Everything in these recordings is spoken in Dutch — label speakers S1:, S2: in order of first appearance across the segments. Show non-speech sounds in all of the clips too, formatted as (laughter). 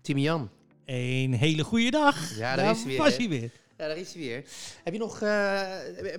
S1: Timian,
S2: Een hele goede dag.
S1: Ja, daar is hij weer,
S2: was
S1: hè?
S2: hij weer.
S1: Ja, daar is hij weer. Heb je nog, eh,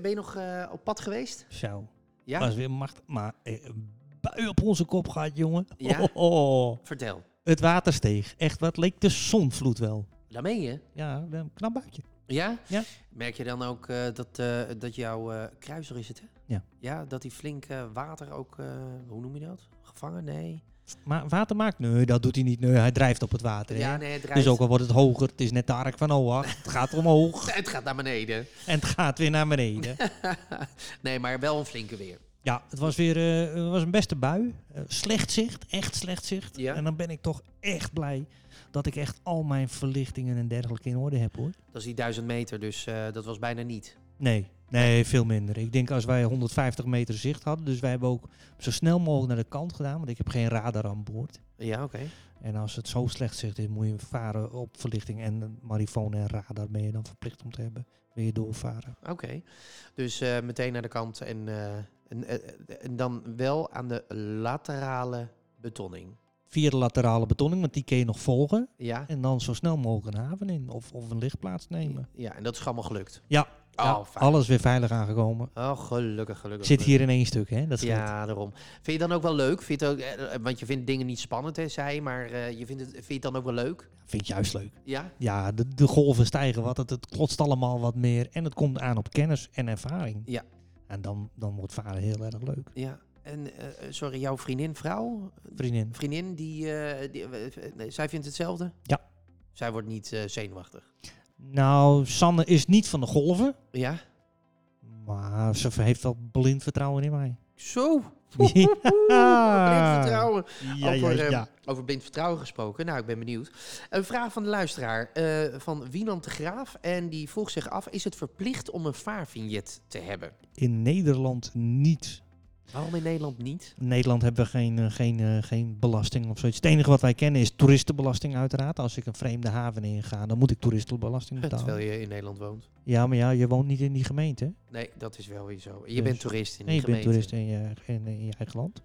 S1: ben je nog eh, op pad geweest?
S2: Zo,
S1: Ja?
S2: was weer macht. Maar eh, een bui op onze kop gaat, jongen.
S1: Ja?
S2: Oh, oh, oh.
S1: Vertel.
S2: Het water steeg. Echt, wat leek de zonvloed wel.
S1: Daar meen je?
S2: Ja, een knap buitje.
S1: Ja?
S2: Ja.
S1: Merk je dan ook eh, dat, eh, dat jouw eh, kruiser is het, hè?
S2: Ja.
S1: Ja, dat die flink eh, water ook, eh, hoe noem je dat? Gevangen? Nee.
S2: Maar water maakt? Nee, dat doet hij niet. Nee, hij drijft op het water.
S1: Ja,
S2: hè?
S1: nee, het
S2: Dus
S1: drijft.
S2: ook al wordt het hoger, het is net de ark van Noach. Het gaat omhoog
S1: (laughs) Het gaat naar beneden.
S2: en het gaat weer naar beneden.
S1: nee, maar wel een flinke weer.
S2: Ja, het was weer eh, het was een beste bui. Eh, slecht zicht, echt slecht zicht.
S1: Ja.
S2: En dan ben ik toch echt blij dat ik echt al mijn verlichtingen en dergelijke in orde heb hoor.
S1: Dat is die duizend meter, dus eh, dat was bijna niet.
S2: Nee, nee, veel minder. Ik denk als wij 150 meter zicht hadden, dus wij hebben ook zo snel mogelijk naar de kant gedaan, want ik heb geen radar aan boord.
S1: Ja, oké.
S2: En als het zo slecht zicht is, moet je varen op verlichting en een marifoon en radar ben je dan verplicht om te hebben. Wil je doorvaren?
S1: Oké. Dus eh, meteen naar de kant en, eh, en, eh, en dan wel aan de laterale betonning.
S2: Via de laterale betonning, want die kun je nog volgen.
S1: Ja?
S2: En dan zo snel mogelijk een haven in of, of een lichtplaats nemen.
S1: Ja, en dat is allemaal gelukt.
S2: Ja, Ja,
S1: Oh, fijn.
S2: alles weer veilig aangekomen.
S1: Oh, gelukkig, gelukkig.
S2: Zit hier in één stuk, hè? Dat scheelt.
S1: Ja, daarom. Vind je dan ook wel leuk? Vind je het ook, eh, eh, want je vindt dingen niet spannend, hè, zei je, maar eh, je vindt het, vind je het dan ook wel leuk?
S2: Vind ik juist leuk.
S1: Ja?
S2: Ja, de, de golven stijgen wat, het, het klotst allemaal wat meer. En het komt aan op kennis en ervaring.
S1: Ja.
S2: En dan, dan wordt varen heel erg leuk.
S1: Ja. En eh, sorry, jouw vriendin, vrouw?
S2: Vriendin.
S1: Vriendin, die, eh, die, eh, eh, nee, zij vindt hetzelfde?
S2: Ja.
S1: Zij wordt niet eh, zenuwachtig?
S2: Nou, Sanne is niet van de golven.
S1: Ja?
S2: Maar ze heeft wel blind vertrouwen in mij.
S1: Zo!
S2: (laughs)
S1: Blind
S2: Ja,
S1: vertrouwen.
S2: ja,
S1: over,
S2: ja,
S1: eh,
S2: ja.
S1: over blind vertrouwen gesproken. Nou, ik ben benieuwd. Een vraag van de luisteraar eh, van Wienand de Graaf. En die vroeg zich af, is het verplicht om een vaarvignet te hebben?
S2: In Nederland niet.
S1: Waarom in Nederland niet?
S2: In Nederland hebben we geen, eh, geen, eh, geen belasting of zoiets. Het enige wat wij kennen is toeristenbelasting uiteraard. Als ik een vreemde haven inga, dan moet ik toeristenbelasting
S1: Terwijl
S2: betalen.
S1: je in Nederland woont.
S2: Ja, maar ja, je woont niet in die gemeente. hè?
S1: Nee, dat is wel weer zo. Je
S2: Dus-
S1: bent toerist in
S2: Nee,
S1: die
S2: je bent
S1: gemeente.
S2: toerist in je, in, in je eigen land.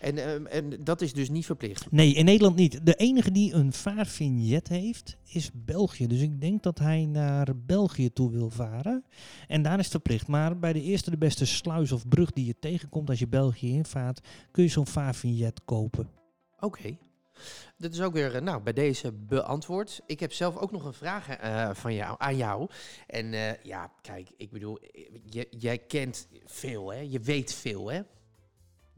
S1: En, ehm, en dat is dus niet verplicht.
S2: Nee, in Nederland niet. De enige die een vaarvignet heeft, is België. Dus ik denk dat hij naar België toe wil varen. En daar is het verplicht. Maar bij de eerste de beste sluis of brug die je tegenkomt als je België invaart, kun je zo'n vaarvignet kopen.
S1: Oké. Dat is ook weer, eh, nou, bij deze beantwoord. Ik heb zelf ook nog een vraag eh, van jou, aan jou. En eh, ja, kijk, ik bedoel, eh, je, jij kent veel, hè? Je weet veel, hè?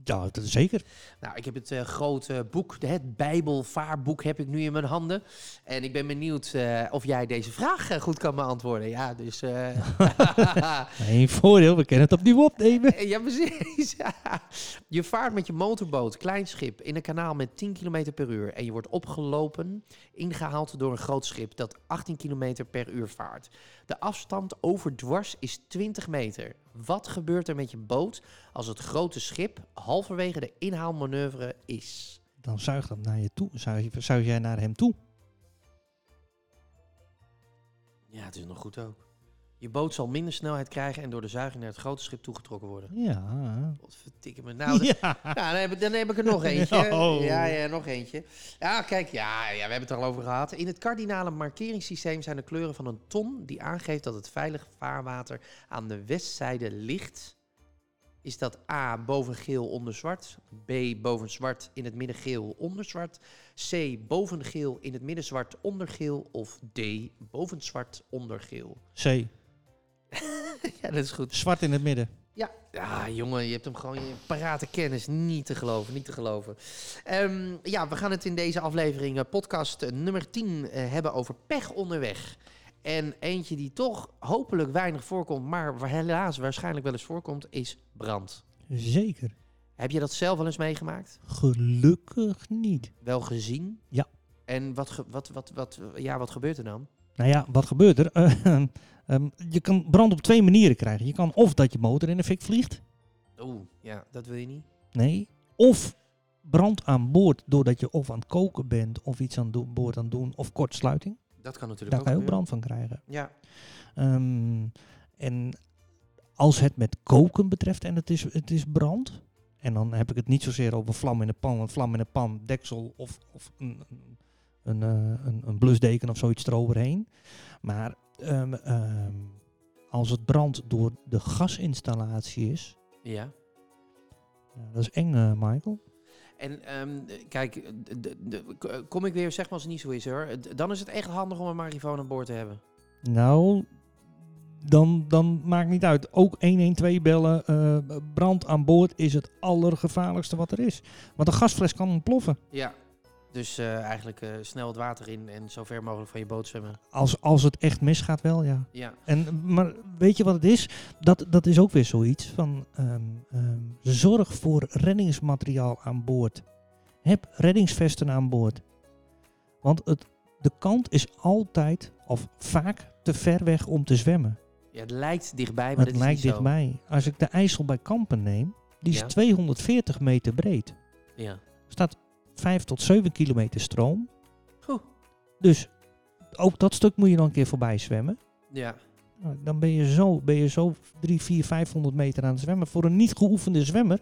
S2: Ja, dat is zeker.
S1: Nou, ik heb het eh, grote boek, de- het Bijbelvaarboek, heb ik nu in mijn handen. En ik ben benieuwd eh, of jij deze vraag eh, goed kan beantwoorden. Ja, dus... eh, (laughs)
S2: Eén (laughs) voordeel, we kunnen het opnieuw opnemen.
S1: Ja, precies. (laughs) Je vaart met je motorboot, klein schip, in een kanaal met 10 km per uur. En je wordt opgelopen, ingehaald door een groot schip dat 18 km per uur vaart. De afstand overdwars is 20 meter. Wat gebeurt er met je boot als het grote schip halverwege de inhaalmanoeuvre is?
S2: Dan zuigt dat naar je toe. Zuig, zuig jij naar hem toe.
S1: Ja, het is nog goed ook. Je boot zal minder snelheid krijgen en door de zuiging naar het grote schip toegetrokken worden.
S2: Ja.
S1: Wat vertikken me nou?
S2: (laughs) ja.
S1: Nou, dan heb, ik, dan heb ik er
S2: (laughs)
S1: nog eentje.
S2: Oh.
S1: Ja, ja, nog eentje. Ja, kijk, ja, ja, we hebben het er al over gehad. In het kardinale markeringssysteem zijn de kleuren van een ton... die aangeeft dat het veilig vaarwater aan de westzijde ligt. Is dat A, boven geel onder zwart? B, boven zwart in het midden geel onder zwart? C, boven geel in het midden zwart onder geel? Of D, boven zwart onder geel?
S2: C.
S1: Ja, dat is goed.
S2: Zwart in het midden.
S1: Ja. ja, jongen, je hebt hem gewoon je parate kennis. Niet te geloven, niet te geloven. Ehm, ja, we gaan het in deze aflevering, eh, podcast eh, nummer 10, eh, hebben over pech onderweg. En eentje die toch hopelijk weinig voorkomt, maar wa- helaas waarschijnlijk wel eens voorkomt, is brand.
S2: Zeker.
S1: Heb je dat zelf wel eens meegemaakt?
S2: Gelukkig niet.
S1: Wel gezien?
S2: Ja.
S1: En wat, ge- wat, wat, wat, ja, wat gebeurt er dan?
S2: Nou ja, wat gebeurt er? (laughs) Eh, ehm, je kan brand op twee manieren krijgen. Je kan of dat je motor in de fik vliegt.
S1: Oeh, ja, dat wil je niet.
S2: Nee. Of brand aan boord doordat je of aan het koken bent of iets aan do- boord aan het doen of kortsluiting.
S1: Dat kan natuurlijk
S2: Daar kan je
S1: ook
S2: ook
S1: gebeuren.
S2: brand van krijgen.
S1: Ja,
S2: Ehm, en als het met koken betreft en het is, het is brand. En dan heb ik het niet zozeer over vlam in de pan. Een vlam in de pan, deksel of, of een, een, eh, een, een blusdeken of zoiets eroverheen. Maar ehm, ehm, als het brand door de gasinstallatie is.
S1: ja.
S2: Ja, dat is eng, eh, Michael.
S1: En ehm, kijk, d- d- d- k- kom ik weer, zeg maar als het niet zo is hoor. D- Dan is het echt handig om een marifoon aan boord te hebben.
S2: Nou, dan, dan maakt niet uit. Ook 112 bellen. eh, brand aan boord is het allergevaarlijkste wat er is. Want een gasfles kan ontploffen.
S1: Ja. Dus eh, eigenlijk eh, snel het water in en zo ver mogelijk van je boot zwemmen.
S2: Als, als het echt misgaat wel, ja.
S1: Ja,
S2: En, maar weet je wat het is? Dat, dat is ook weer zoiets van ehm, ehm, zorg voor reddingsmateriaal aan boord. Heb reddingsvesten aan boord. Want het, de kant is altijd of vaak te ver weg om te zwemmen.
S1: ja het lijkt dichtbij, maar
S2: Maar
S1: dat is
S2: het lijkt
S1: niet zo.
S2: dichtbij. Als ik de IJssel bij Kampen neem, die is
S1: Ja.
S2: 240 meter breed.
S1: Ja.
S2: staat 5 tot 7 kilometer stroom.
S1: Oeh.
S2: Dus ook dat stuk moet je dan een keer voorbij zwemmen.
S1: ja,
S2: Nou, Dan ben je zo, ben je zo 3, 4, 500 meter aan het zwemmen. Voor een niet geoefende zwemmer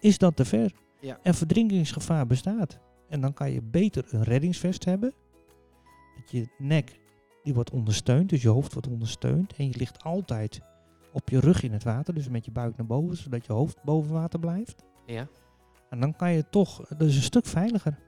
S2: is dat te ver.
S1: Ja.
S2: En verdrinkingsgevaar bestaat. En dan kan je beter een reddingsvest hebben. Dat je nek die wordt ondersteund, dus je hoofd wordt ondersteund. En je ligt altijd op je rug in het water, dus met je buik naar boven, zodat je hoofd boven water blijft.
S1: ja.
S2: En dan kan je toch, dat is een stuk veiliger.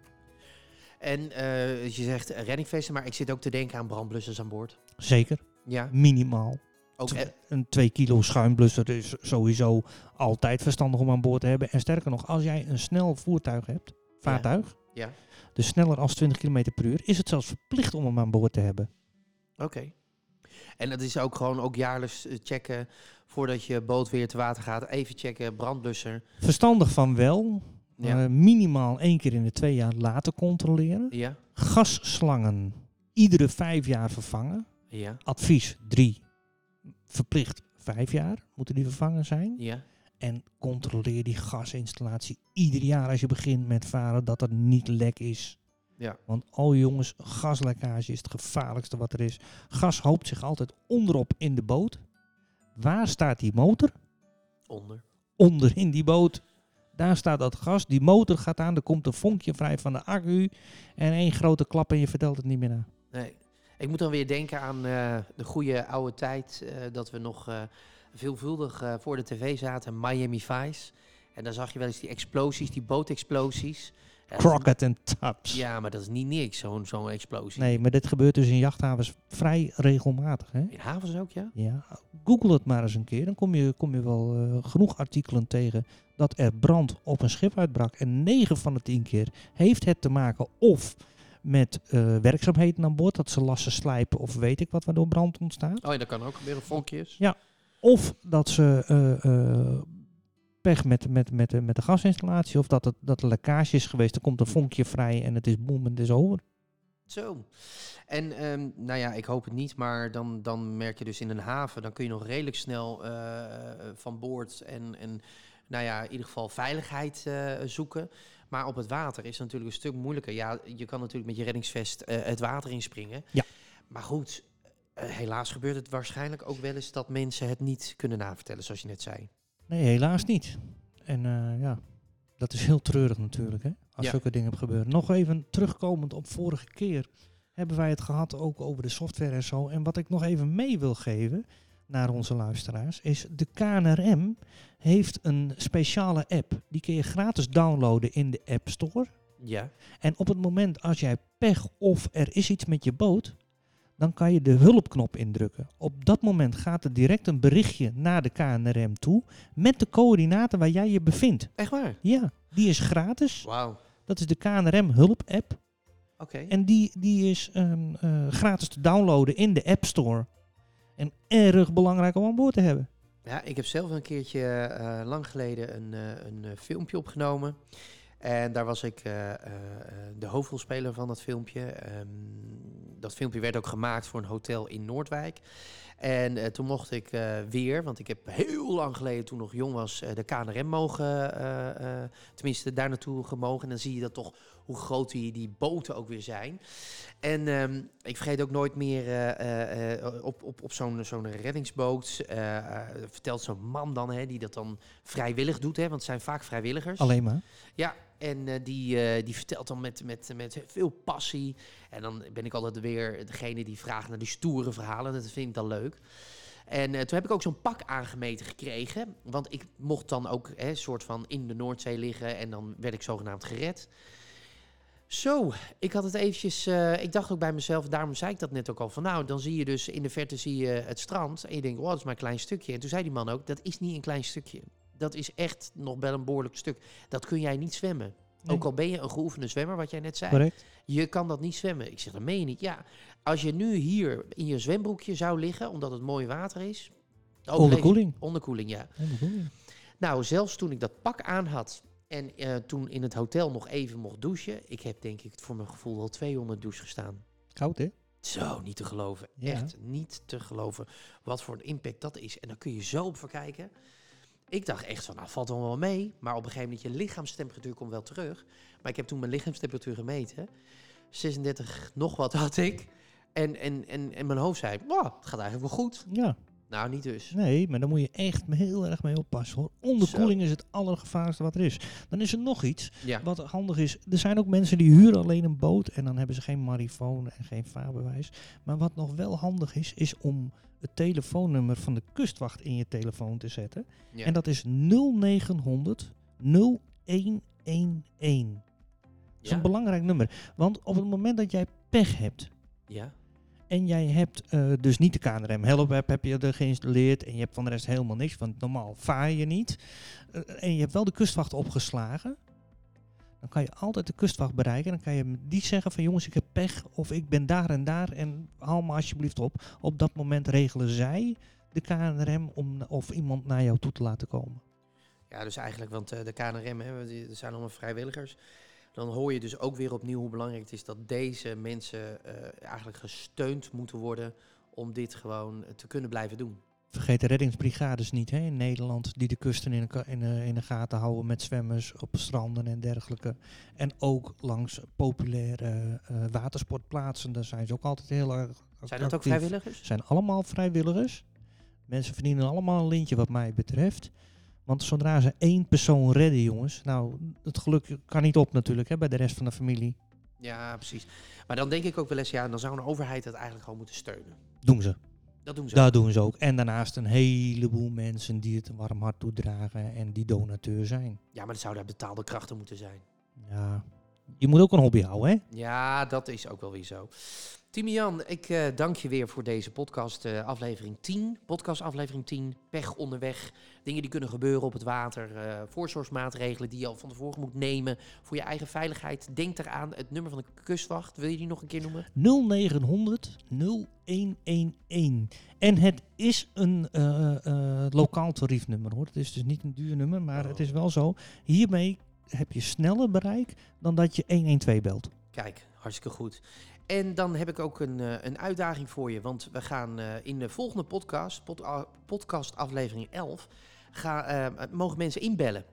S1: En eh, je zegt eh, reddingvesten, maar ik zit ook te denken aan brandblussers aan boord.
S2: Zeker,
S1: Ja,
S2: minimaal.
S1: ook
S2: Tw-
S1: eh,
S2: een 2 kilo schuimblusser is sowieso altijd verstandig om aan boord te hebben. En sterker nog, als jij een snel voertuig hebt, vaartuig,
S1: Ja.
S2: dus sneller als 20 km per uur, is het zelfs verplicht om hem aan boord te hebben.
S1: Oké. En dat is ook gewoon ook jaarlijks eh, checken voordat je boot weer te water gaat. Even checken, brandblusser.
S2: Verstandig van wel,
S1: Ja.
S2: eh, minimaal één keer in de twee jaar laten controleren.
S1: Ja,
S2: Gasslangen iedere vijf jaar vervangen.
S1: ja,
S2: Advies 3, verplicht vijf jaar moeten die vervangen zijn.
S1: ja.
S2: En controleer die gasinstallatie ieder jaar als je begint met varen dat er niet lek is.
S1: Ja.
S2: Want oh jongens, gaslekkage is het gevaarlijkste wat er is. Gas hoopt zich altijd onderop in de boot. Waar staat die motor?
S1: Onder.
S2: Onder in die boot. Daar staat dat gas. Die motor gaat aan. Er komt een vonkje vrij van de accu. En één grote klap en je vertelt het niet meer na.
S1: Nee. Ik moet dan weer denken aan eh, de goede oude tijd eh, dat we nog eh, veelvuldig eh, voor de tv zaten. Miami Vice. En daar zag je wel eens die explosies, die bootexplosies. Ja, dat is-
S2: Crockett en Taps.
S1: Ja, maar dat is niet niks, zo'n zo'n explosie.
S2: Nee, maar dit gebeurt dus in jachthavens vrij regelmatig. Hè?
S1: In havens ook, ja?
S2: Ja, google het maar eens een keer. Dan kom je, kom je wel eh, genoeg artikelen tegen dat er brand op een schip uitbrak. En 9 van de 10 keer heeft het te maken of met eh, werkzaamheden aan boord, dat ze lassen slijpen of weet ik wat waardoor brand ontstaat.
S1: Oh ja, dat kan ook gebeuren, vonkjes.
S2: Of dat ze eh, eh, pech met, met, met, de- met de gasinstallatie of dat, het, dat er lekkage is geweest. Er komt een vonkje vrij en het is boem en het is over.
S1: Zo. En ehm, nou ja, ik hoop het niet, maar dan, dan merk je dus in een haven, dan kun je nog redelijk snel eh, van boord en, en nou ja, in ieder geval veiligheid eh, zoeken. Maar op het water is het natuurlijk een stuk moeilijker. Ja, je kan natuurlijk met je reddingsvest eh, het water inspringen.
S2: Ja.
S1: Maar goed, eh, helaas gebeurt het waarschijnlijk ook wel eens dat mensen het niet kunnen navertellen, zoals je net zei.
S2: Nee, helaas niet. En eh, ja, dat is heel treurig natuurlijk, hè, als
S1: Ja.
S2: zulke dingen gebeuren. Nog even terugkomend op vorige keer hebben wij het gehad ook over de software en zo. En wat ik nog even mee wil geven naar onze luisteraars is de KNRM heeft een speciale app. Die kun je gratis downloaden in de App Store.
S1: Ja.
S2: En op het moment als jij pech of er is iets met je boot, dan kan je de hulpknop indrukken. Op dat moment gaat er direct een berichtje naar de KNRM toe met de coördinaten waar jij je bevindt.
S1: Echt waar?
S2: Ja, die is gratis.
S1: Wauw. Oké.
S2: Dat is de KNRM Hulp App. En die, die is ehm, eh, gratis te downloaden in de App Store. En erg belangrijk om aan boord te hebben.
S1: Ja, ik heb zelf een keertje eh, lang geleden een, eh, een eh, filmpje opgenomen. Eh, En daar was ik eh, eh, eh, de hoofdrolspeler van dat filmpje. Ehm, dat filmpje werd ook gemaakt voor een hotel in Noordwijk. En eh, toen mocht ik eh, weer, want ik heb heel lang geleden toen nog jong was, eh, de KNRM mogen, eh, eh, tenminste daar naartoe gemogen. En dan zie je dat toch hoe groot die, die boten ook weer zijn. En ehm, ik vergeet ook nooit meer eh, eh, eh, op, op, op zo'n zo'n reddingsboot. eh, eh, vertelt zo'n man dan, hè, die dat dan vrijwillig doet, hè, want het zijn vaak vrijwilligers.
S2: Alleen maar.
S1: Ja, en eh, die, eh, die vertelt dan met, met, met veel passie. En dan ben ik altijd weer degene die vraagt naar die stoere verhalen. Dat vind ik dan leuk. En eh, toen heb ik ook zo'n pak aangemeten gekregen. Want ik mocht dan ook hè, soort van in de Noordzee liggen. En dan werd ik zogenaamd gered. Zo, ik had het eventjes... eh, ik dacht ook bij mezelf, daarom zei ik dat net ook al. Van nou, dan zie je dus in de verte zie je het strand. En je denkt, wow, dat is maar een klein stukje. En toen zei die man ook, dat is niet een klein stukje. Dat is echt nog wel een behoorlijk stuk. Dat kun jij niet zwemmen.
S2: Nee.
S1: Ook al ben je een geoefende zwemmer, wat jij net zei.
S2: Correct.
S1: Je kan dat niet zwemmen. Ik zeg, dat meen je niet. Ja, als je nu hier in je zwembroekje zou liggen, omdat het mooi water is. overleef je-
S2: Onderkoeling.
S1: Onderkoeling, ja. Nou, zelfs toen ik dat pak aan had en eh, toen in het hotel nog even mocht douchen. Ik heb denk ik voor mijn gevoel wel 200 douche gestaan.
S2: Koud, hè?
S1: Zo, niet te geloven.
S2: Ja.
S1: Echt niet te geloven wat voor een impact dat is. En daar kun je zo op verkijken. Ik dacht echt van, nou valt dan wel mee. Maar op een gegeven moment, je lichaamstemperatuur komt wel terug. Maar ik heb toen mijn lichaamstemperatuur gemeten. 36 nog wat had ik. En, en, en, en mijn hoofd zei, wow, het gaat eigenlijk wel goed.
S2: Ja.
S1: Nou, niet dus.
S2: Nee, maar daar moet je echt heel erg mee oppassen, hoor. Onderkoeling is het allergevaarlijkste wat er is. Dan is er nog iets
S1: Ja,
S2: wat handig is. Er zijn ook mensen die huren alleen een boot en dan hebben ze geen marifoon en geen vaarbewijs. Maar wat nog wel handig is, is om het telefoonnummer van de kustwacht in je telefoon te zetten.
S1: Ja.
S2: En dat is 0900 0111. Dat is
S1: ja,
S2: een belangrijk nummer. Want op het moment dat jij pech hebt,
S1: ja,
S2: En jij hebt eh, dus niet de KNRM Help app heb je er geïnstalleerd. En je hebt van de rest helemaal niks. Want normaal vaar je niet. Eh, en je hebt wel de kustwacht opgeslagen. Dan kan je altijd de kustwacht bereiken. Dan kan je met die zeggen van jongens ik heb pech. Of ik ben daar en daar. En haal me alsjeblieft op. Op dat moment regelen zij de KNRM om, of iemand naar jou toe te laten komen.
S1: ja, dus eigenlijk, want eh, de KNRM, hè, we- die- er zijn allemaal vrijwilligers. Dan hoor je dus ook weer opnieuw hoe belangrijk het is dat deze mensen eh, eigenlijk gesteund moeten worden om dit gewoon eh, te kunnen blijven doen.
S2: Vergeet de reddingsbrigades niet hè, in Nederland, die de kusten in de, ka- in, de, in de gaten houden met zwemmers op stranden en dergelijke. En ook langs populaire eh, watersportplaatsen, daar zijn ze ook altijd heel erg
S1: Zijn dat ook
S2: actief.
S1: vrijwilligers?
S2: zijn allemaal vrijwilligers. Mensen verdienen allemaal een lintje wat mij betreft. Want zodra ze één persoon redden, jongens, nou, het geluk kan niet op natuurlijk hè, bij de rest van de familie.
S1: Ja, precies. Maar dan denk ik ook wel eens, ja, dan zou een overheid dat eigenlijk gewoon moeten steunen.
S2: Doen ze.
S1: Dat doen ze.
S2: Dat doen ze ook. En daarnaast een heleboel mensen die het een warm hart toedragen en die donateur zijn.
S1: Ja, maar dat zou daar betaalde krachten moeten zijn.
S2: Ja, je moet ook een hobby houden, hè?
S1: Ja, dat is ook wel weer zo. Timian, ik eh, dank je weer voor deze podcast, eh, aflevering 10. Podcast aflevering 10, pech onderweg. Dingen die kunnen gebeuren op het water. eh, voorzorgsmaatregelen die je al van tevoren moet nemen. Voor je eigen veiligheid. Denk eraan, het nummer van de kustwacht. Wil je die nog een keer noemen?
S2: 0900 0111. En het is een eh, eh, lokaal tariefnummer, hoor. Het is dus niet een duur nummer, maar
S1: Oh.
S2: het is wel zo. Hiermee heb je sneller bereik dan dat je 112 belt.
S1: Kijk, hartstikke goed. En dan heb ik ook een, eh, een uitdaging voor je. Want we gaan eh, in de volgende podcast, pod- a- podcast aflevering 11, ga, eh, mogen mensen inbellen.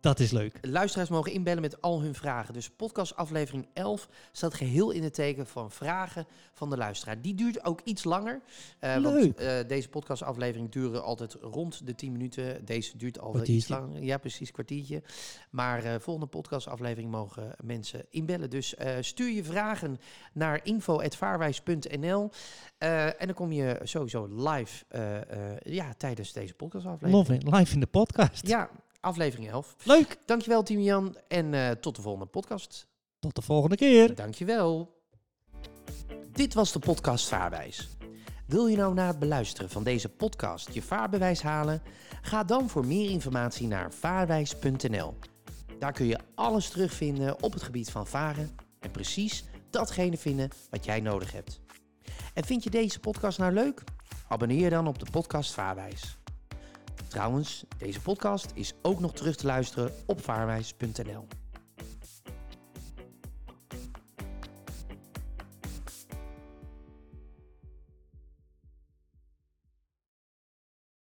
S2: Dat is leuk.
S1: Luisteraars mogen inbellen met al hun vragen. Dus podcast aflevering 11 staat geheel in het teken van vragen van de luisteraar. Die duurt ook iets langer. eh,
S2: Leuk.
S1: Want eh, deze podcast aflevering duren altijd rond de 10 minuten. Deze duurt al wel iets
S2: Kwartiertje.
S1: langer. Ja, precies, kwartiertje. Maar eh, volgende podcast aflevering mogen mensen inbellen. Dus eh, stuur je vragen naar info.vaarwijs.nl. Eh, en dan kom je sowieso live eh, eh, ja, tijdens deze podcast aflevering.
S2: Lovely. Live in de podcast.
S1: Ja, aflevering 11.
S2: Leuk.
S1: Dankjewel, Team Jan. En eh, tot de volgende podcast.
S2: Tot de volgende keer.
S1: Dankjewel. Dit was de podcast Vaarwijs. Wil je nou na het beluisteren van deze podcast je vaarbewijs halen? Ga dan voor meer informatie naar vaarwijs.nl. Daar kun je alles terugvinden op het gebied van varen en precies datgene vinden wat jij nodig hebt. En vind je deze podcast nou leuk? Abonneer je dan op de podcast Vaarwijs. Trouwens, deze podcast is ook nog terug te luisteren op vaarwijs.nl.